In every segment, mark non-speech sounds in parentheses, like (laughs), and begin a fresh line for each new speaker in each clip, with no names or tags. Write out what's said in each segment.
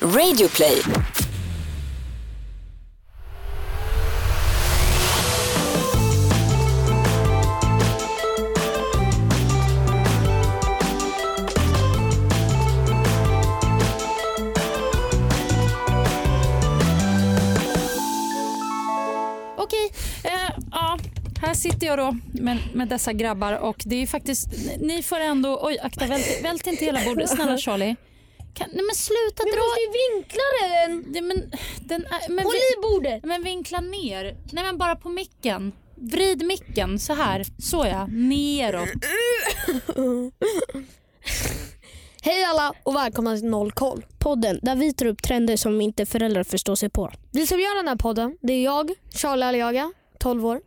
Radioplay.
Okej, eh, ja. Här sitter jag då med, med dessa grabbar och det är faktiskt, ni får ändå, oj akta vält, vält inte hela bordet, snälla Charlie. Kan, nej men sluta
Du
dra,
måste ju vinkla den!
det, men, den är, men,
Håll
vi,
i bordet!
men vinkla ner, nej men bara på micken. Vrid micken så här, så ja, neråt.
Hej alla och välkomna till Noll koll.
Podden där vi tar upp trender som inte föräldrar förstår sig på.
Vi som gör den här podden, det är jag, Charlie Aliaga, 12 år.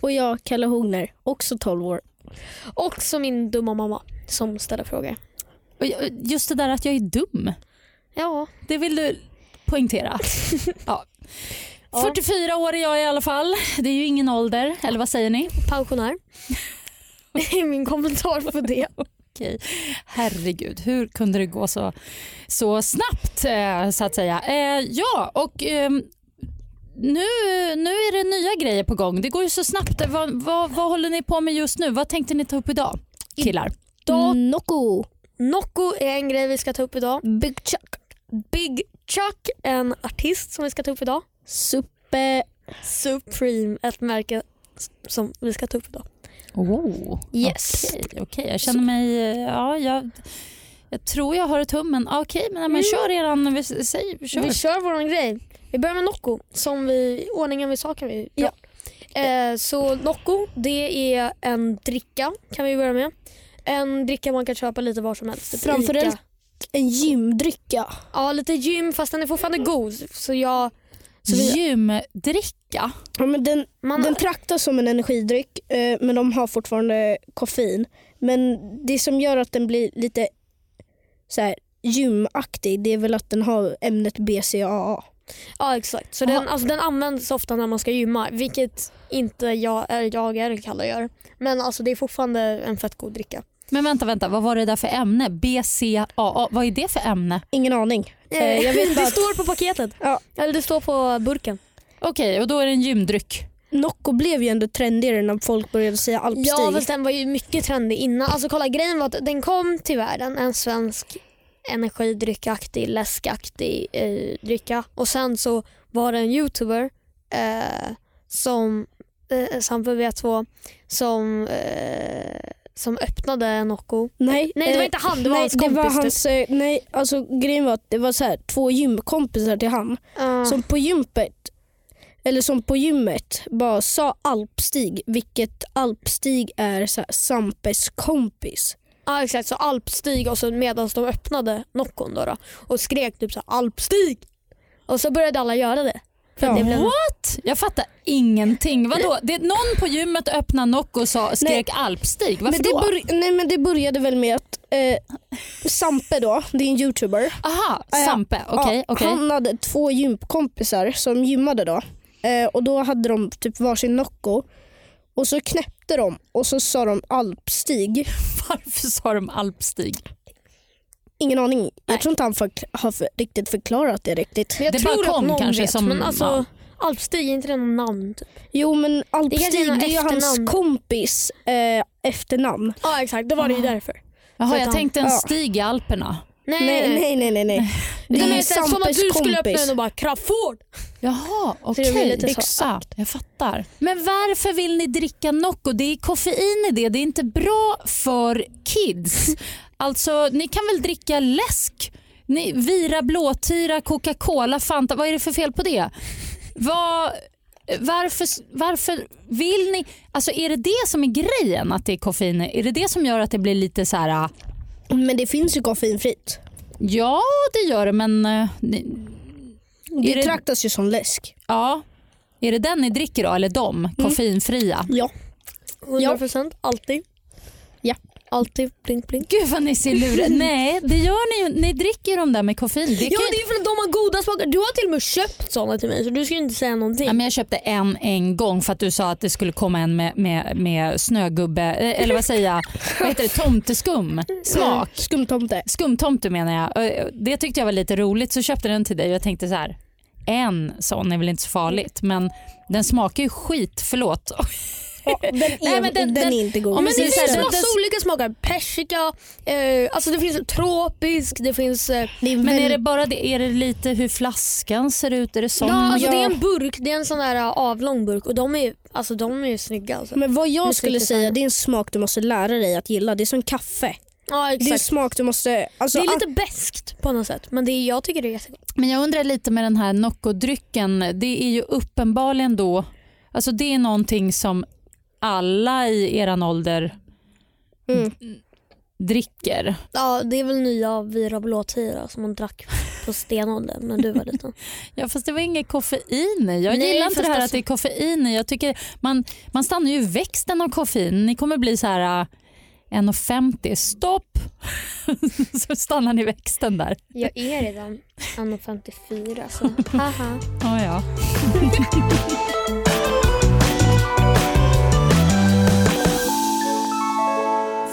Och jag, Kalle Hogner, också 12 år.
Och så min dumma mamma som ställer frågor.
Och jag- Just det där att jag är dum,
Ja,
det vill du
(laughs)
poängtera. Ja. 44 år är jag i alla fall, det är ju ingen ålder, eller vad säger ni?
(laughs) pensionär. Det är min kommentar på det.
Okej. Herregud, hur kunde det gå så, så snabbt eh, så att säga? Eh, ja, och ehm, nu, nu är det nya grejer på gång. Det går ju så snabbt. Eh, Vad, vad, vad håller ni på med just nu? Vad tänkte ni ta upp idag? Killar.
Då-
Mm, Nocco!
Nocco är en grej vi ska ta upp idag. Big Chuck. Big Chuck, en artist som vi ska ta upp idag.
Suppe!
Supreme, ett märke s- som vi ska ta upp idag.
Oh,
Yes.
Okej, okej. jag känner mig... eh, Ja, jag, jag tror jag har tummen. Ah, Okej, men, men kör eran... vi s- Säg, kör.
Vi kör vår grej. Vi börjar med Nocco, som vi, ordningen vi saker vi
Ja.
Eh, så Nocco, det är en dricka kan vi börja med. En dricka man kan köpa lite var som helst. Typ Ica.
Framförallt en gymdrycka.
Ja, lite gym fast den är fortfarande god. Så jag, så vi-
Gymdricka.
Ja, men den,
man,
den traktas som en energidryck eh, men de har fortfarande koffein. Men det som gör att den blir lite så här, gymaktig det är väl att den har ämnet BCAA.
ja exakt. Så
Ja.
den, alltså, den används ofta när man ska gymma, vilket inte jag, eller jag eller Kalle gör. Men alltså, det är fortfarande en fett god dricka.
Men vänta, vänta. Vad var det där för ämne? BCAA. Vad är det för ämne?
Ingen aning. Eh, jag
(laughs)
vet bara
det
att-
står på paketet.
Ja.
Eller det står på burken.
Okej, och då är det en gymdryck.
Nocco blev ju ändå trendigare när folk började säga alpstig.
Ja fast den var ju mycket trendig innan. Alltså kolla grejen var att den kom till världen, en svensk energidryckaktig, läskaktig eh, drycka. Och sen så var det en youtuber eh, som eh, Sampe V2 som, eh, som öppnade Nocco.
Nej,
Nej det var
eh,
inte han, det var
nej,
hans kompis.
Det var
typ.
hans, eh, nej, alltså grejen var att det var så här, två gymkompisar till han
Ja.
som på gympet eller som på gymmet bara sa alpstig, vilket alpstig är så här, Sampes kompis.
Ja exakt, så alpstig och så medan de öppnade Noccon då, då och skrek typ så här, alpstig. Och så började alla göra det. För
Ja.
det blev
What? Jag fattar ingenting. Vadå? Det, någon på gymmet öppnade Nocco och sa, skrek alpstig. Varför
men det
då?
bör- nej, men det började väl med att eh, Sampe då, det är en youtuber,
Aha,
Ja, ja.
Sampe. Okej,
ja,
okej. (laughs)
Han hade två gympkompisar som gymmade då. Eh, och Då hade de typ varsin Nocco och så knäppte de och så sa de alpstig.
Varför sa de alpstig?
Ingen aning. Jag tror inte han för, har för, riktigt förklarat det riktigt.
Men jag
Det bara
tror att
kom
någon
kanske
vet,
som-
men alltså,
ja.
Alpstig, är inte det något namn? typ?
Jo men
Det kanske är
alpstig
något
det är ju hans
efternamn.
kompis eh, efternamn.
Ja exakt, det var det ju därför.
Jaha,
Vet
jag
han.
tänkte en
Ja.
stig i Alperna.
Ah. Nej,
Nej nej nej
(laughs)
nej. nej. Det
Den
är
är som att
Sampes
du skulle öppna
kompis.
den och bara Crafoord.
Jaha,
det blir
okej.
lite så
Exakt. Jag fattar. Men varför vill ni dricka Nocco? Det är koffein i det. Det är inte bra för (laughs) kids. Alltså, ni kan väl dricka läsk? Ni, vira, blåtira, Coca-Cola, Fanta. Vad är det för fel på det? Vad... Varför, varför vill ni... Alltså är det det som är grejen att det är koffein? i? Är det det som gör att det blir lite så här... ah,
Men det finns ju koffeinfritt.
Ja, det gör det, men... eh, ni-
Det,
Är det-
traktas ju som läsk.
Ja. Är det den ni dricker då? Eller de? Koffeinfria?
Ja.
100% alltid.
Ja.
Alltid blink blink. (laughs)
Gud vad ni ser luriga Nej, det gör ni ju. Ni dricker de där med koffein. Det
Ja
kan...
det är för att de har goda smaker. Du har till och med köpt sådana till mig så du ska ju inte säga någonting.
Ja, men jag köpte en en gång för att du sa att det skulle komma en med, med, med snögubbe, eh, eller vad säger jag, vad heter det, tomteskum smak.
Mm.
(laughs)
Skumtomte.
Skumtomte menar jag. Eh, Det tyckte jag var lite roligt så köpte jag den till dig och jag tänkte så här, en sån är väl inte så farligt men den smakar ju skit, förlåt. (laughs)
Ja, den, är,
Nej, men
den,
den- den-
är inte god.
Ja,
men
men
det
det är
finns
så här-
massa olika smaker. Persika, eh, alltså det finns tropisk, det finns... Eh,
det är
Men
väldigt-
är det bara det, är det lite hur flaskan ser ut? Är det sån?
ja, alltså
ja.
Det är en burk, det är en sån där eh, avlång burk och de är ju alltså, de är ju snygga. Alltså.
men vad jag
Musik
skulle
design.
säga det är en smak du måste lära dig att gilla. Det är som kaffe.
ja,
Det är en
exakt.
smak du måste... Alltså,
Det är lite beskt på något sätt men det är, jag tycker det är jättegott.
Men jag undrar lite med den här Nocco-drycken. Det är ju uppenbarligen då, alltså det är någonting som alla i eran ålder
Mm.
d- dricker.
Ja, det är väl nya Vira Blåtira som man drack på stenåldern när du var liten.
Ja fast det var inget koffein i. Jag
Nej,
gillar inte
fast
det här
alltså-
att det är koffein i. Jag tycker man, man stannar ju i växten av koffein. Ni kommer bli så här äh, 1,50. Stopp! (laughs) så stannar ni i växten där.
(laughs) Jag är redan 1,54 (laughs) så haha.
Ja, ja. (laughs)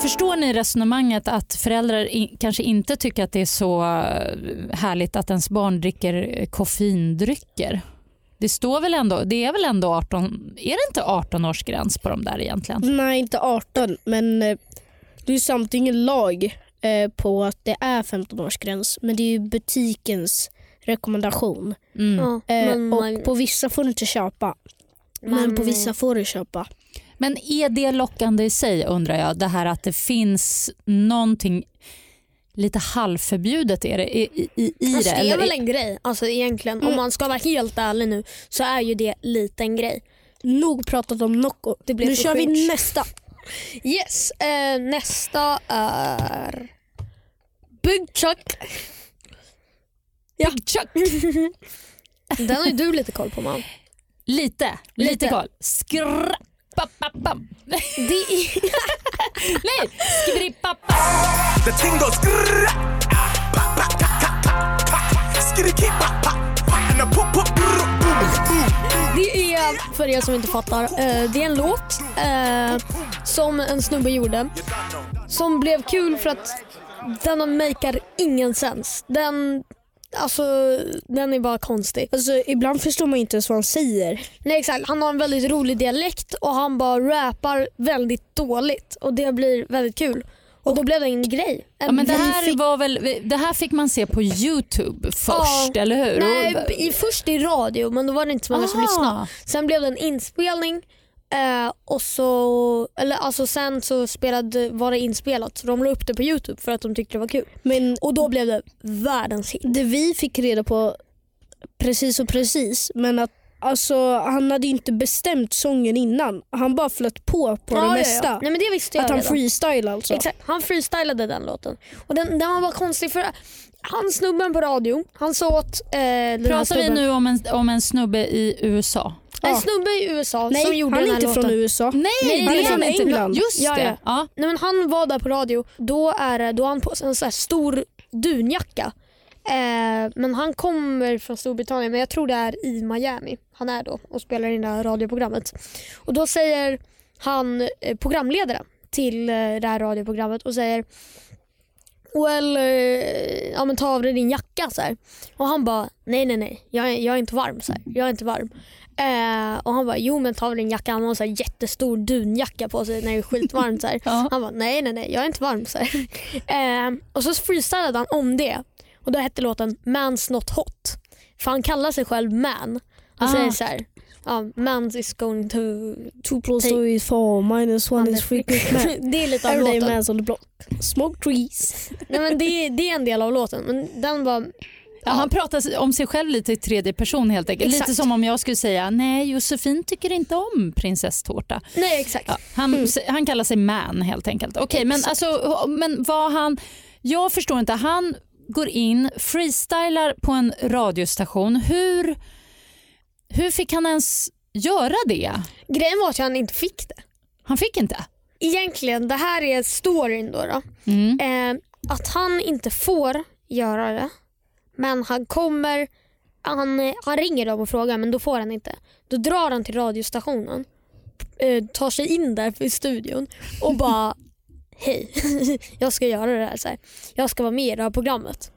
Förstår ni resonemanget att föräldrar i, kanske inte tycker att det är så eh, härligt att ens barn dricker eh, koffeindrycker? Det står väl ändå, det är väl ändå 18, är det inte 18-årsgräns på de där egentligen?
Nej, inte 18, men eh, det är ju samtidigt ingen lag eh, på att det är 15-årsgräns, men det är ju butikens rekommendation.
Mm.
Ja,
Eh,
men
och
man-
På vissa får du inte köpa, men på
man-
vissa får du köpa.
Men är det lockande i sig undrar jag, det här att det finns någonting lite halvförbjudet är det, i, i, i i
Alltså,
det?
det är
eller-
väl en grej. Alltså egentligen, om man ska vara helt ärlig nu så är ju det lite en grej.
Nog pratat om Nocco.
Det blev
nu
så
kör vi
cringe.
nästa.
Yes, eh, nästa är... Big Chuck.
Ja. Chuck.
(laughs) Den har ju du lite koll på man.
Lite, lite,
Lite.
koll. Skrra... Papp, papp, papp.
Det är...
Nej, skrippappa.
The thing goes grrrr, pa, pa, ta, ta, ta, pa, skiriki, pa, pa, pa, and a pop, pop, brr, boom, boom.
Det är, för er som inte fattar, eh, det är en låt eh, som en snubbe gjorde som blev kul för att den makear ingen sens. Den, alltså, den är bara konstig.
Alltså, ibland förstår man inte ens vad han säger.
Nej exakt, han har en väldigt rolig dialekt och han bara rappar väldigt dåligt och det blir väldigt kul. Och då blev det en grej. En
Ja, men det, här
väldigt-
var väl, det här fick man se på Youtube först,
Ja.
eller hur?
Nej, i, först i radio men då var det inte så många som
Aha.
lyssnade. Sen blev det en inspelning eh, och så, eller alltså sen så spelade, var det inspelat så de la upp det på Youtube för att de tyckte det var kul.
Men
Och då blev det världens hit.
det vi fick reda på precis och precis, men att Alltså, han hade ju inte bestämt sången innan. Han bara flöt på på det
Ja, ja, ja.
mesta.
Nej men det visste jag
Att han
redan.
freestyle alltså.
Exakt, han freestylade den låten. Och den, den var bara konstig för han snubben på radio, han sa åt eh, den här
Pratar vi
snubben,
nu om en, om en snubbe i USA?
en
Ja.
snubbe i USA
Nej,
som gjorde
Alltså, han
den
är
här
inte
låten.
från USA.
Nej,
Nej,
det
han
är
är
han
från
inte.
England.
Just
Ja,
det.
ja.
Ja.
Nej, men han var där på radio. Då är det- då har han på sig en så här stor dunjacka. Eh, men han kommer från Storbritannien, men jag tror det är i Miami han är då och spelar in det här radioprogrammet. Och Då säger han, eh, programledaren till eh, det här radioprogrammet och säger Well, eh, ja, men ta av dig din jacka. Så här. Och han bara, nej nej nej, jag, är- jag är inte varm. Så här. Jag är inte varm. Eh, och han bara, jo men ta av dig din jacka. Han har en så här jättestor dunjacka på sig när det är skitvarmt. Så här.
(laughs) Ja.
Han bara, nej nej nej, jag är inte varm. Så här. Eh, och så freestylade han om det. Och då hette låten Man's Not Hot. För han kallar sig själv man. Han
Ah.
säger så här, ja, Man's is going to...
Two plus two is four, minus one is three quick man.
det är lite av
Everyday
låten.
man's on the block. Smoke trees.
Nej, men det, är, det är en del av låten. Men den var...
Ja, han pratar om sig själv lite i tredje person helt enkelt.
Exakt.
Lite som om jag skulle säga, nej Josefin tycker inte om prinsesstårta.
Nej exakt.
Ja, han, han kallar sig man helt enkelt. Okej, men, alltså, men vad han... Jag förstår inte. Han går in, freestylar på en radiostation. Hur, hur fick han ens göra det?
Grejen var att han inte fick det.
Han fick inte.
Egentligen, det här är storyn då. då.
Mm.
Eh, att han inte får göra det. Men han kommer, han, eh, han ringer dem och frågar men då får han inte. Då drar han till radiostationen, eh, tar sig in där i studion och bara Hej, (laughs) jag ska göra det här. Så här. Jag ska vara med i det här programmet.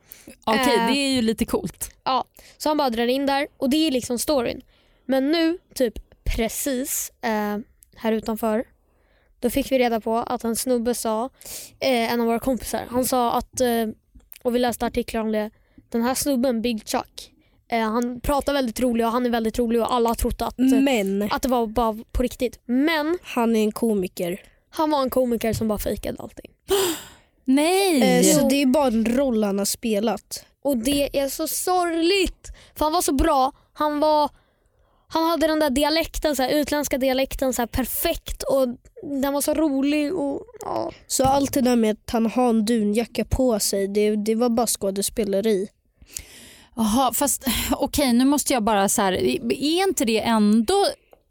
Okej,
Eh.
det är ju lite coolt.
Ja, så han bara drar in där och det är liksom storyn. Men nu, typ precis eh, här utanför, då fick vi reda på att en snubbe sa, eh, en av våra kompisar, han sa att, eh, och vi läste artiklar om det, den här snubben Big Chuck, eh, han pratar väldigt roligt och han är väldigt rolig och alla har trott att,
Men
att det var bara på riktigt. Men
han är en komiker.
han var en komiker som bara fejkade allting.
Nej!
Eh,
Jo.
Så det är bara en roll han har spelat.
Och det är så sorgligt. För han var så bra. Han var han hade den där dialekten, så här, utländska dialekten så här, perfekt och den var så rolig. Och, ja.
Så allt det där med att han har en dunjacka på sig, det, det var bara skådespeleri.
Jaha, fast okej nu måste jag bara så här, är inte det ändå,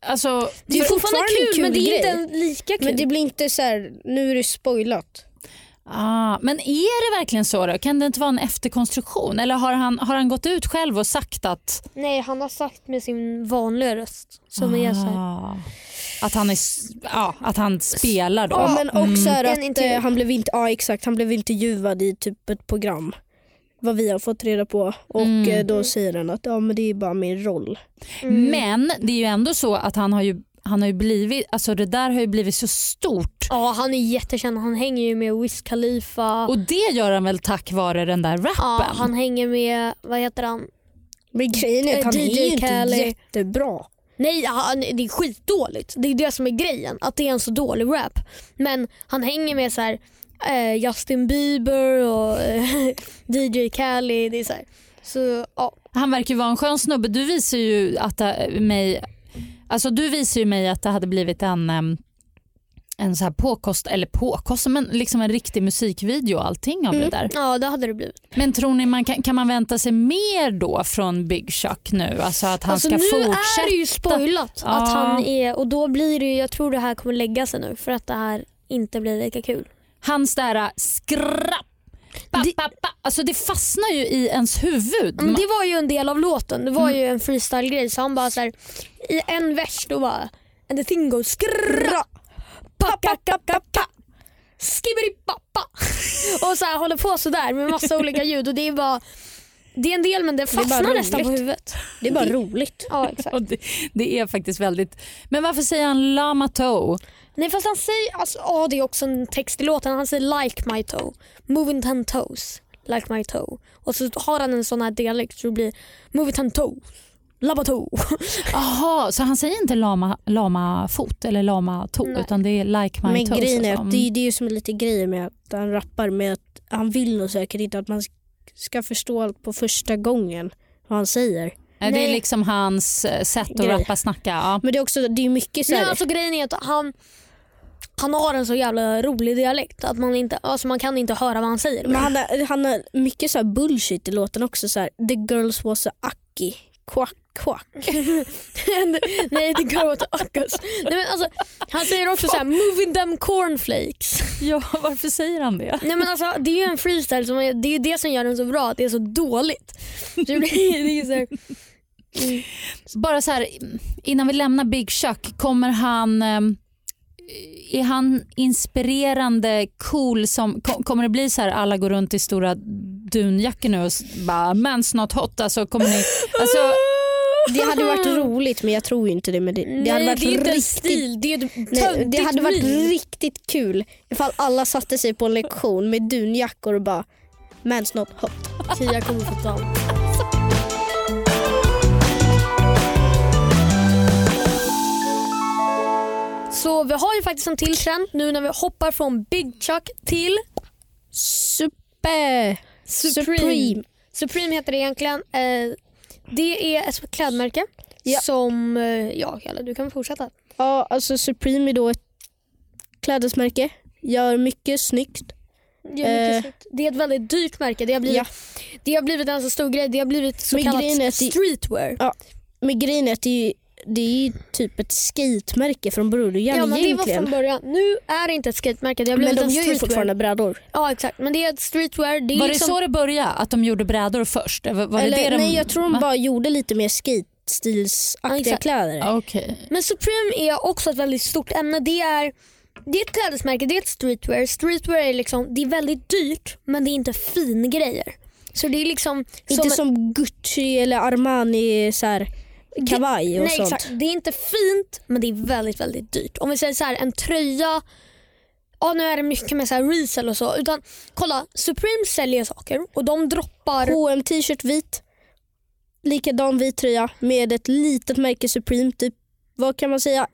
alltså,
Det är fortfarande en kul
men det är
grej.
inte en lika kul.
Men det blir inte så här, nu är det spoilat.
ah, men är det verkligen så då? Kan det inte vara en efterkonstruktion? Eller har han, har han gått ut själv och sagt att,
Nej, han har sagt med sin vanliga röst. Som är så här.
ah, att, han är, s- ja, att han spelar då?
Ja, men också är
En
att
intervju.
eh, han blev inte, ja exakt, han blev intervjuad i typ ett program. Vad vi har fått reda på. Och
Mm.
eh, då säger han att ja, men det är bara min roll.
Mm.
Men det är ju ändå så att han har ju, han har ju blivit, alltså det där har ju blivit så stort.
Ja, han är jättekänd. Han hänger ju med Wiz Khalifa.
Och det gör han väl tack vare den där rappen?
Ja, han hänger med, vad heter han?
Men grejen är att han
Eh,
är
DJ
ju inte
Khaled.
jättebra.
Nej, han, det är skitdåligt. Det är det som är grejen, att det är en så dålig rap. Men han hänger med så här, eh, Justin Bieber och eh, (laughs) DJ Khaled. Det är så här. Så, ja.
Han verkar ju vara en skön snubbe. Du visar ju, att det, mig, alltså du visar ju mig att det hade blivit en, em, en så här påkost, eller påkost, men liksom en riktig musikvideo och allting av det där.
ja, det hade det blivit.
Men tror ni man kan, kan man vänta sig mer då från Big Chuck nu? Alltså att han
alltså,
ska
nu
fortsätta?
är det ju spoilat
Ja.
att han är, och då blir det ju, jag tror det här kommer lägga sig nu för att det här inte blir lika kul.
Hans där äh, skrapp, ba,
Det-
ba, ba. Alltså det fastnar ju i ens huvud.
Men det var ju en del av låten, det
Mm.
var ju en freestyle-grej så han bara så här, i en vers då bara And the thing goes skrrra, pa, pa, pa, pa, pa. Skibberipappa. Och så här, håller på sådär med massa olika ljud och det är bara Det är en del men det
bara
fastnar nästan på
roligt.
huvudet.
Det är bara roligt.
Ja exakt.
Och det, det är faktiskt väldigt... Men varför säger han Lama Toe?
Nej fast han säger, alltså, ja, det är också en text i låten, han säger like my toe, moving ten toes, like my toe. Och så har han en sån här dialekt så det blir moving ten toes, labba toe. (laughs)
Jaha, så han säger inte lama, lama fot eller lama to
Nej.
utan det är like my
Men
toes.
grejen är
alltså.
att det, är- det är ju som är lite grejer med att han rappar med att han vill nog säkert inte att man ska förstå allt på första gången vad han säger.
Mm. det är
Nej.
liksom hans eh, sätt att
Grej.
rappa snacka.
(laughs)
Ja.
Men det är också det är ju mycket så
Nej,
här,
alltså grejen är att han, han har en så jävla rolig dialekt att man, inte, alltså, man kan inte höra vad han säger.
men han, har, han har mycket så här bullshit i låten också. Så här, The girls was a aki, quack quack.
(laughs) Nej, det går åt ökas. Nej, men alltså, han säger också så här, moving them cornflakes.
ja, varför säger han det?
Nej, men alltså, det är ju en freestyle, som, är- det är ju det som gör den så bra, att det är så dåligt. Så det blir, det är så här,
Bara så här, innan vi lämnar Big Chuck, kommer han... eh, Är han inspirerande, cool? Som, ko- kommer det bli så här alla går runt i stora dunjackor nu och s- bara “mans not hot”? Alltså, kommer
(laughs)
ni, alltså,
Det hade varit roligt men jag tror ju inte det. Men det, det hade
nej,
varit
det är inte en
riktigt,
stil, det är ett
nej,
töntigt
det hade varit
meme.
riktigt kul ifall alla satte sig på en lektion med dunjackor och bara Man's not hot.
Tia kommer få ta allt. Så vi har ju faktiskt en till trend nu när vi hoppar från Big Chuck till
Super
Supreme. Supreme, heter det egentligen. Eh, det är ett klädmärke
Ja.
som... eh, Ja, Kalle, du kan fortsätta.
Ja, alltså Supreme är då ett klädesmärke. Gör mycket snyggt.
Det är,
Eh.
mycket snyggt. det är ett väldigt dyrt märke. Det har blivit,
Ja.
det har blivit en så stor grej. Det har blivit så
Men
kallat
grejen är att det-
streetwear.
Men grejen är att det är, det är ju typ ett skatemärke från Broljan
Ja, men det var
egentligen.
från början. Nu är det inte ett skatemärke. Det har
men
blivit
de
en
gör ju
streetwear.
fortfarande brädor.
Ja, exakt. Men det är ett streetwear. Det är
Var det
liksom...
så det började? Att de gjorde brädor först? Var var det
Eller,
det de...
Nej, jag tror de
Va?
bara gjorde lite mer
Ja,
skatestilsaktiga
exakt.
kläder.
Okej.
Men Supreme är också ett väldigt stort ämne. Det är, det är ett klädesmärke, det är ett streetwear. Streetwear är liksom, det är väldigt dyrt men det är inte fin grejer. Så det är liksom...
inte
en-
som Gucci eller Armani så här, kavaj och
Nej,
sånt.
exakt. Det är inte fint men det är väldigt väldigt dyrt. Om vi säger så här, en tröja, ja nu är det mycket med så här resell och så. Utan kolla, Supreme säljer saker och de droppar...
H&M t-shirt vit, likadan vit tröja med ett litet märke Supreme. Typ, vad kan man säga?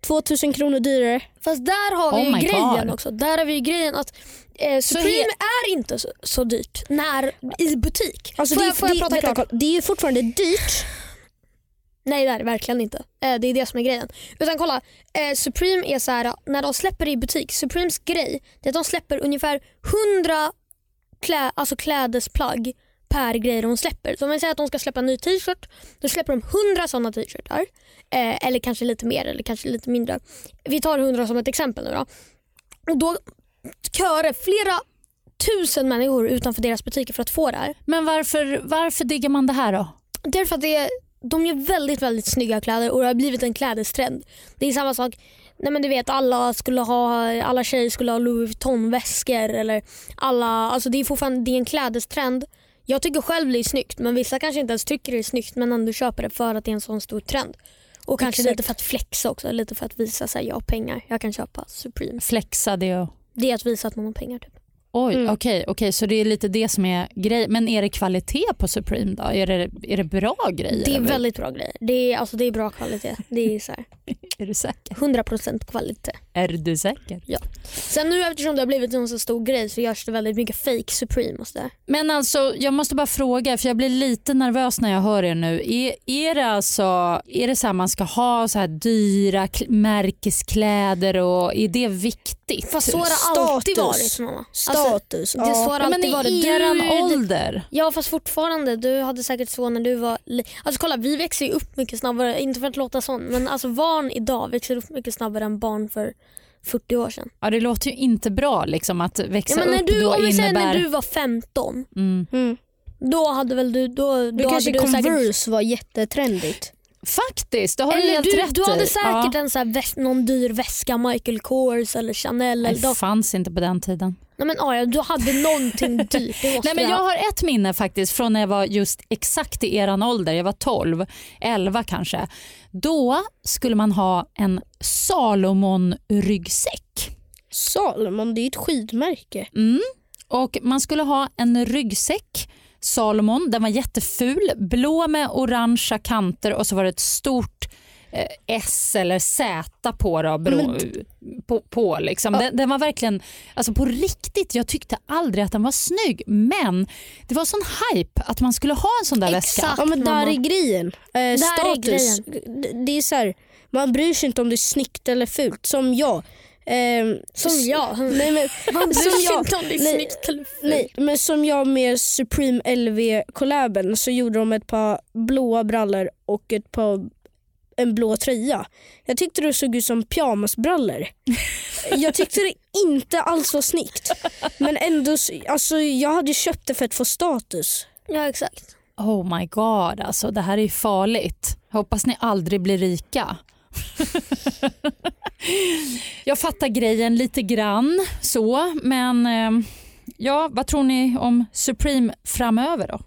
2000 kronor dyrare.
Fast där har vi
Oh
ju
my
grejen
God.
också. Där har vi ju grejen att eh, Supreme
he-
är inte så, så dyrt när, i butik.
Alltså,
får,
det, är-
jag, får jag
det,
prata
vänta,
klart?
kolla. det är ju fortfarande dyrt.
Nej det är det verkligen inte. Eh, det är det som är grejen. Utan kolla, eh, Supreme är så här när de släpper i butik, Supremes grej det är att de släpper ungefär 100 klä, alltså klädesplagg per grej de släpper. Så om vi säger att de ska släppa en ny t-shirt, då släpper de 100 sådana t-shirtar. Eh, eller kanske lite mer eller kanske lite mindre. Vi tar 100 som ett exempel nu då. Och då köar det flera tusen människor utanför deras butiker för att få det här.
Men varför, varför diggar man det här då?
Därför att det är, de gör väldigt väldigt snygga kläder och det har blivit en klädestrend. Det är samma sak, nej men du vet alla, skulle ha, alla tjejer skulle ha Louis Vuitton-väskor eller alla, alltså det är fortfarande det är en klädestrend. Jag tycker själv det är snyggt men vissa kanske inte ens tycker det är snyggt men ändå köper det för att det är en sån stor trend. Och kanske
Exakt.
lite för att flexa också, lite för att visa att jag har pengar, jag kan köpa Supreme.
Flexa det och...
Det är att visa att man har pengar. Typ.
Oj, okej, okej, så det är lite det som är grejen. Men är det kvalitet på Supreme då? Är det, är det bra grejer?
Det är
eller?
väldigt bra grejer. Det är, alltså, det är bra kvalitet. Det är så här,
Är du säker?
100% kvalitet.
Är du säker?
Sen nu eftersom det har blivit en så stor grej så görs det väldigt mycket fake Supreme och sådär.
Men alltså, jag måste bara fråga, för jag blir lite nervös när jag hör er nu. Är, är det alltså, är det så här man ska ha så här dyra kl- märkeskläder och är det viktigt?
Fast Alltså, så har
Status.
det alltid varit mamma. Alltså,
Status.
det
ja.
svarar
ja, men
alltid varit
i er
dyrt.
ålder?
Ja fast fortfarande, du hade säkert så när du var li- Alltså kolla vi växer ju upp mycket snabbare, inte för att låta sån men alltså barn idag växer upp mycket snabbare än barn för 40 år sedan.
Ja, det låter ju inte bra liksom, att växa
Ja, men när
upp
du,
då
om vi säger
innebär...
när du var 15,
Mm.
Mm.
då hade väl du, då,
Då
då hade
kanske
du
Converse
säkert
var jättetrendigt.
Faktiskt, det har du
eller
helt
du,
rätt
du
i.
hade
Ja.
säkert en så här väs- någon dyr väska, Michael Kors eller Chanel.
Nej,
Eller,
det
de-
fanns inte på den tiden.
Nej men Aja, du hade (laughs) någonting dyrt. Det måste
Nej, men jag har ett minne faktiskt från när jag var just exakt i eran ålder. Jag var 12, 11 kanske. Då skulle man ha en Salomon-ryggsäck.
Salomon, det är ju ett skidmärke.
Mm. Och man skulle ha en ryggsäck, Salomon, den var jätteful. Blå med orangea kanter och så var det ett stort eh, S eller Z på. Då, bero, på, på liksom. den, den var verkligen, alltså på riktigt, jag tyckte aldrig att den var snygg. Men det var sån hype att man skulle ha en sån där väska.
Exakt.
Ja men där
mamma.
är grejen. Eh,
är
status. D- Det är så här, man bryr sig inte om det är snyggt eller fult. Som jag. Eh,
Som
s-
jag.
(laughs) Nej, men,
Man
som
bryr sig
jag.
inte om det är
Nej.
snyggt eller fult.
Nej, men som jag med Supreme LV collaben så gjorde de ett par blåa brallor och ett par, en blå tröja. Jag tyckte det såg ut som
(laughs)
pyjamasbrallor. jag tyckte det inte alls var snyggt. Men ändå, så- alltså, jag hade ju köpt det för att få status.
Ja exakt.
Oh my god, alltså, det här är ju farligt. Jag hoppas ni aldrig blir rika. (laughs) jag fattar grejen lite grann, så, men eh, ja, vad tror ni om Supreme framöver? då?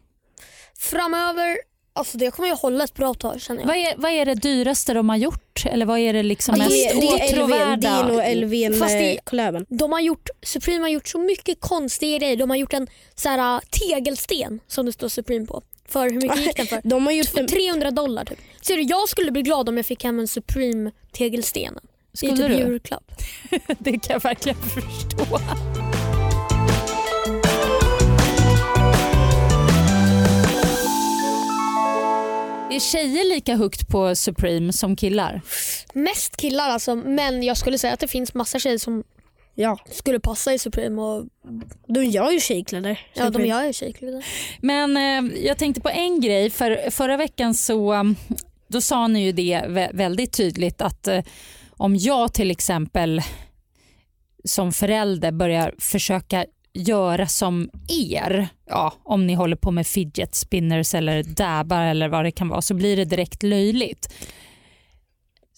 Framöver, alltså det kommer jag hålla ett bra tag känner jag.
Vad är, vad är det dyraste de har gjort? Eller vad är det liksom
Det,
mest
är- det är LV, det är
åtråvärda?
nog eh, LV
Fast det-
med collaben.
De har gjort, Supreme har gjort så mycket konstiga grejer. De har gjort en så här, äh, tegelsten som det står Supreme på. För hur mycket gick den (laughs) för?
De har gjort en,
300 dollar typ. Ser du, jag skulle bli glad om jag fick hem en Supreme tegelsten. Det är
Skulle
typ
du?
julklapp.
(laughs) Det kan jag verkligen förstå. Är tjejer lika högt på Supreme som killar?
Mest killar alltså men jag skulle säga att det finns massa tjejer som
ja,
skulle passa i Supreme och
de gör ju tjejkläder.
ja, de gör ju tjejkläder.
Men eh, jag tänkte på en grej. För, förra veckan så eh, Då sa ni ju det vä- väldigt tydligt att eh, om jag till exempel som förälder börjar försöka göra som er, ja, om ni håller på med fidget spinners eller dabbar eller vad det kan vara, så blir det direkt löjligt.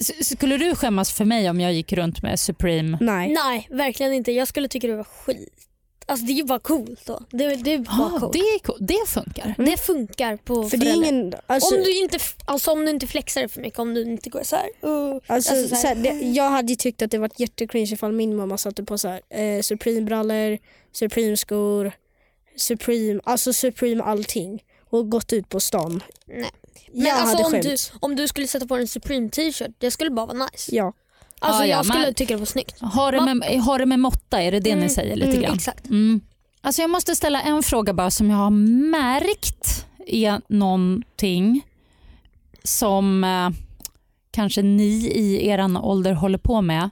S- Skulle du skämmas för mig om jag gick runt med Supreme?
Nej.
Nej, verkligen inte. Jag skulle tycka det var skit. Alltså det är ju bara coolt då. Det, det är bara
Ah,
coolt.
det, är cool. det funkar.
Det funkar på
För det är
föräldrar.
ingen... Alltså,
om, du inte, f- alltså om du inte flexar för mycket, om du inte går så här. Uh,
Alltså,
Alltså, så här-
så här, det, jag hade ju tyckt att det varit jättecringe ifall min mamma satte på så här, eh, Supreme-brallor, Supreme-skor, Supreme, alltså Supreme allting och gått ut på stan.
Nej.
Jag hade
alltså, om, du,
skämts.
om du skulle sätta på dig en Supreme t-shirt, det skulle bara vara nice.
Ja.
Alltså
Ja, ja,
jag skulle
men-
tycka det var snyggt.
Har det med, har det med måtta, är det det ni säger lite grann?
Exakt.
Mm. Alltså jag måste ställa en fråga bara som jag har märkt är någonting som eh, kanske ni i eran ålder håller på med.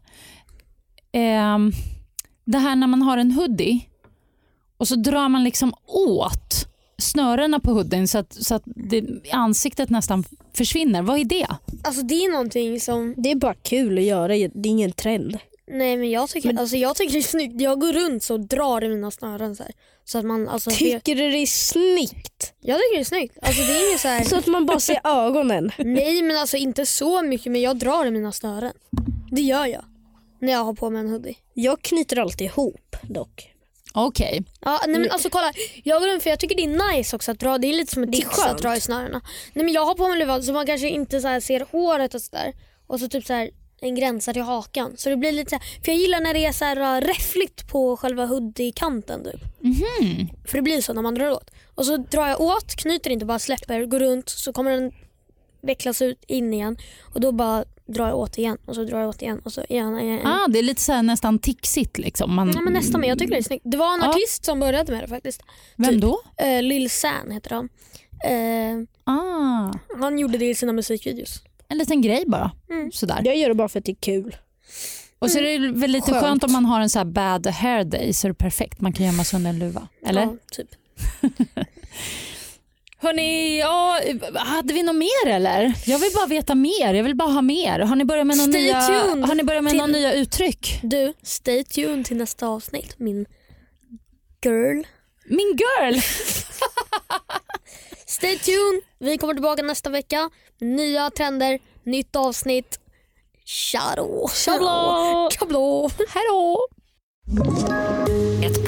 Ehm, det här när man har en hoodie och så drar man liksom åt snörena på hoodien så att, så att det, ansiktet nästan försvinner. Vad är det?
Alltså det är någonting som,
Det är bara kul att göra, det är ingen trend.
nej men jag tycker, Alltså, jag tycker det är snyggt. Jag går runt så och drar i mina snören så här. Så att man, alltså, det,
Tycker du det är snyggt?
jag tycker det är snyggt. Alltså det är inget så här.
Så att man
(laughs)
bara ser ögonen.
Nej men alltså inte så mycket men jag drar i mina snören. Det gör jag. När jag har på mig en hoodie.
Jag knyter alltid ihop dock.
Okej.
Ja, nej
Mm.
men alltså kolla. Jag går runt för jag tycker det är nice också att dra. Det är lite som ett
Det är
tics att
skönt.
dra i snörena. Nej men jag har på mig luvan så man kanske inte så här ser håret och sådär. Och så typ så här en gräns här till hakan. Så det blir lite så här, För jag gillar när det är så här äh, räffligt på själva hoodie-kanten typ.
Mhm.
För det blir så när man drar åt. Och så drar jag åt, knyter inte, bara släpper, går runt så kommer den vecklas ut in igen och då bara drar jag åt igen och så drar jag åt igen och så igen. igen, igen.
Ah, det är lite så här nästan tixigt. Liksom. Man,
Ja, men nästan, men jag tycker det är snyggt. Det var en
Ja.
artist som började med det faktiskt.
Vem då?
Uh, Lil San heter han. Eh,
Ah,
han gjorde det i sina musikvideos.
en liten grej bara.
Mm.
Sådär.
Jag gör det bara för att det är kul.
Och så är det väl lite skönt,
Skönt.
om man har en så här bad hair day så är det perfekt. Man kan gömma sig under en luva. Eller?
Ja, typ.
Hörni, ja, hade vi något mer eller? Jag vill bara veta mer. Jag vill bara ha mer. Har ni börjat med några
Stay
nya,
tuned
har ni börjat med
till-
några nya uttryck?
Du, stay tuned till nästa avsnitt min girl.
Min girl!
Stay tuned, vi kommer tillbaka nästa vecka. Nya trender, nytt avsnitt. Tja då!
Hallå!
Kablå!
Hallå!
Ett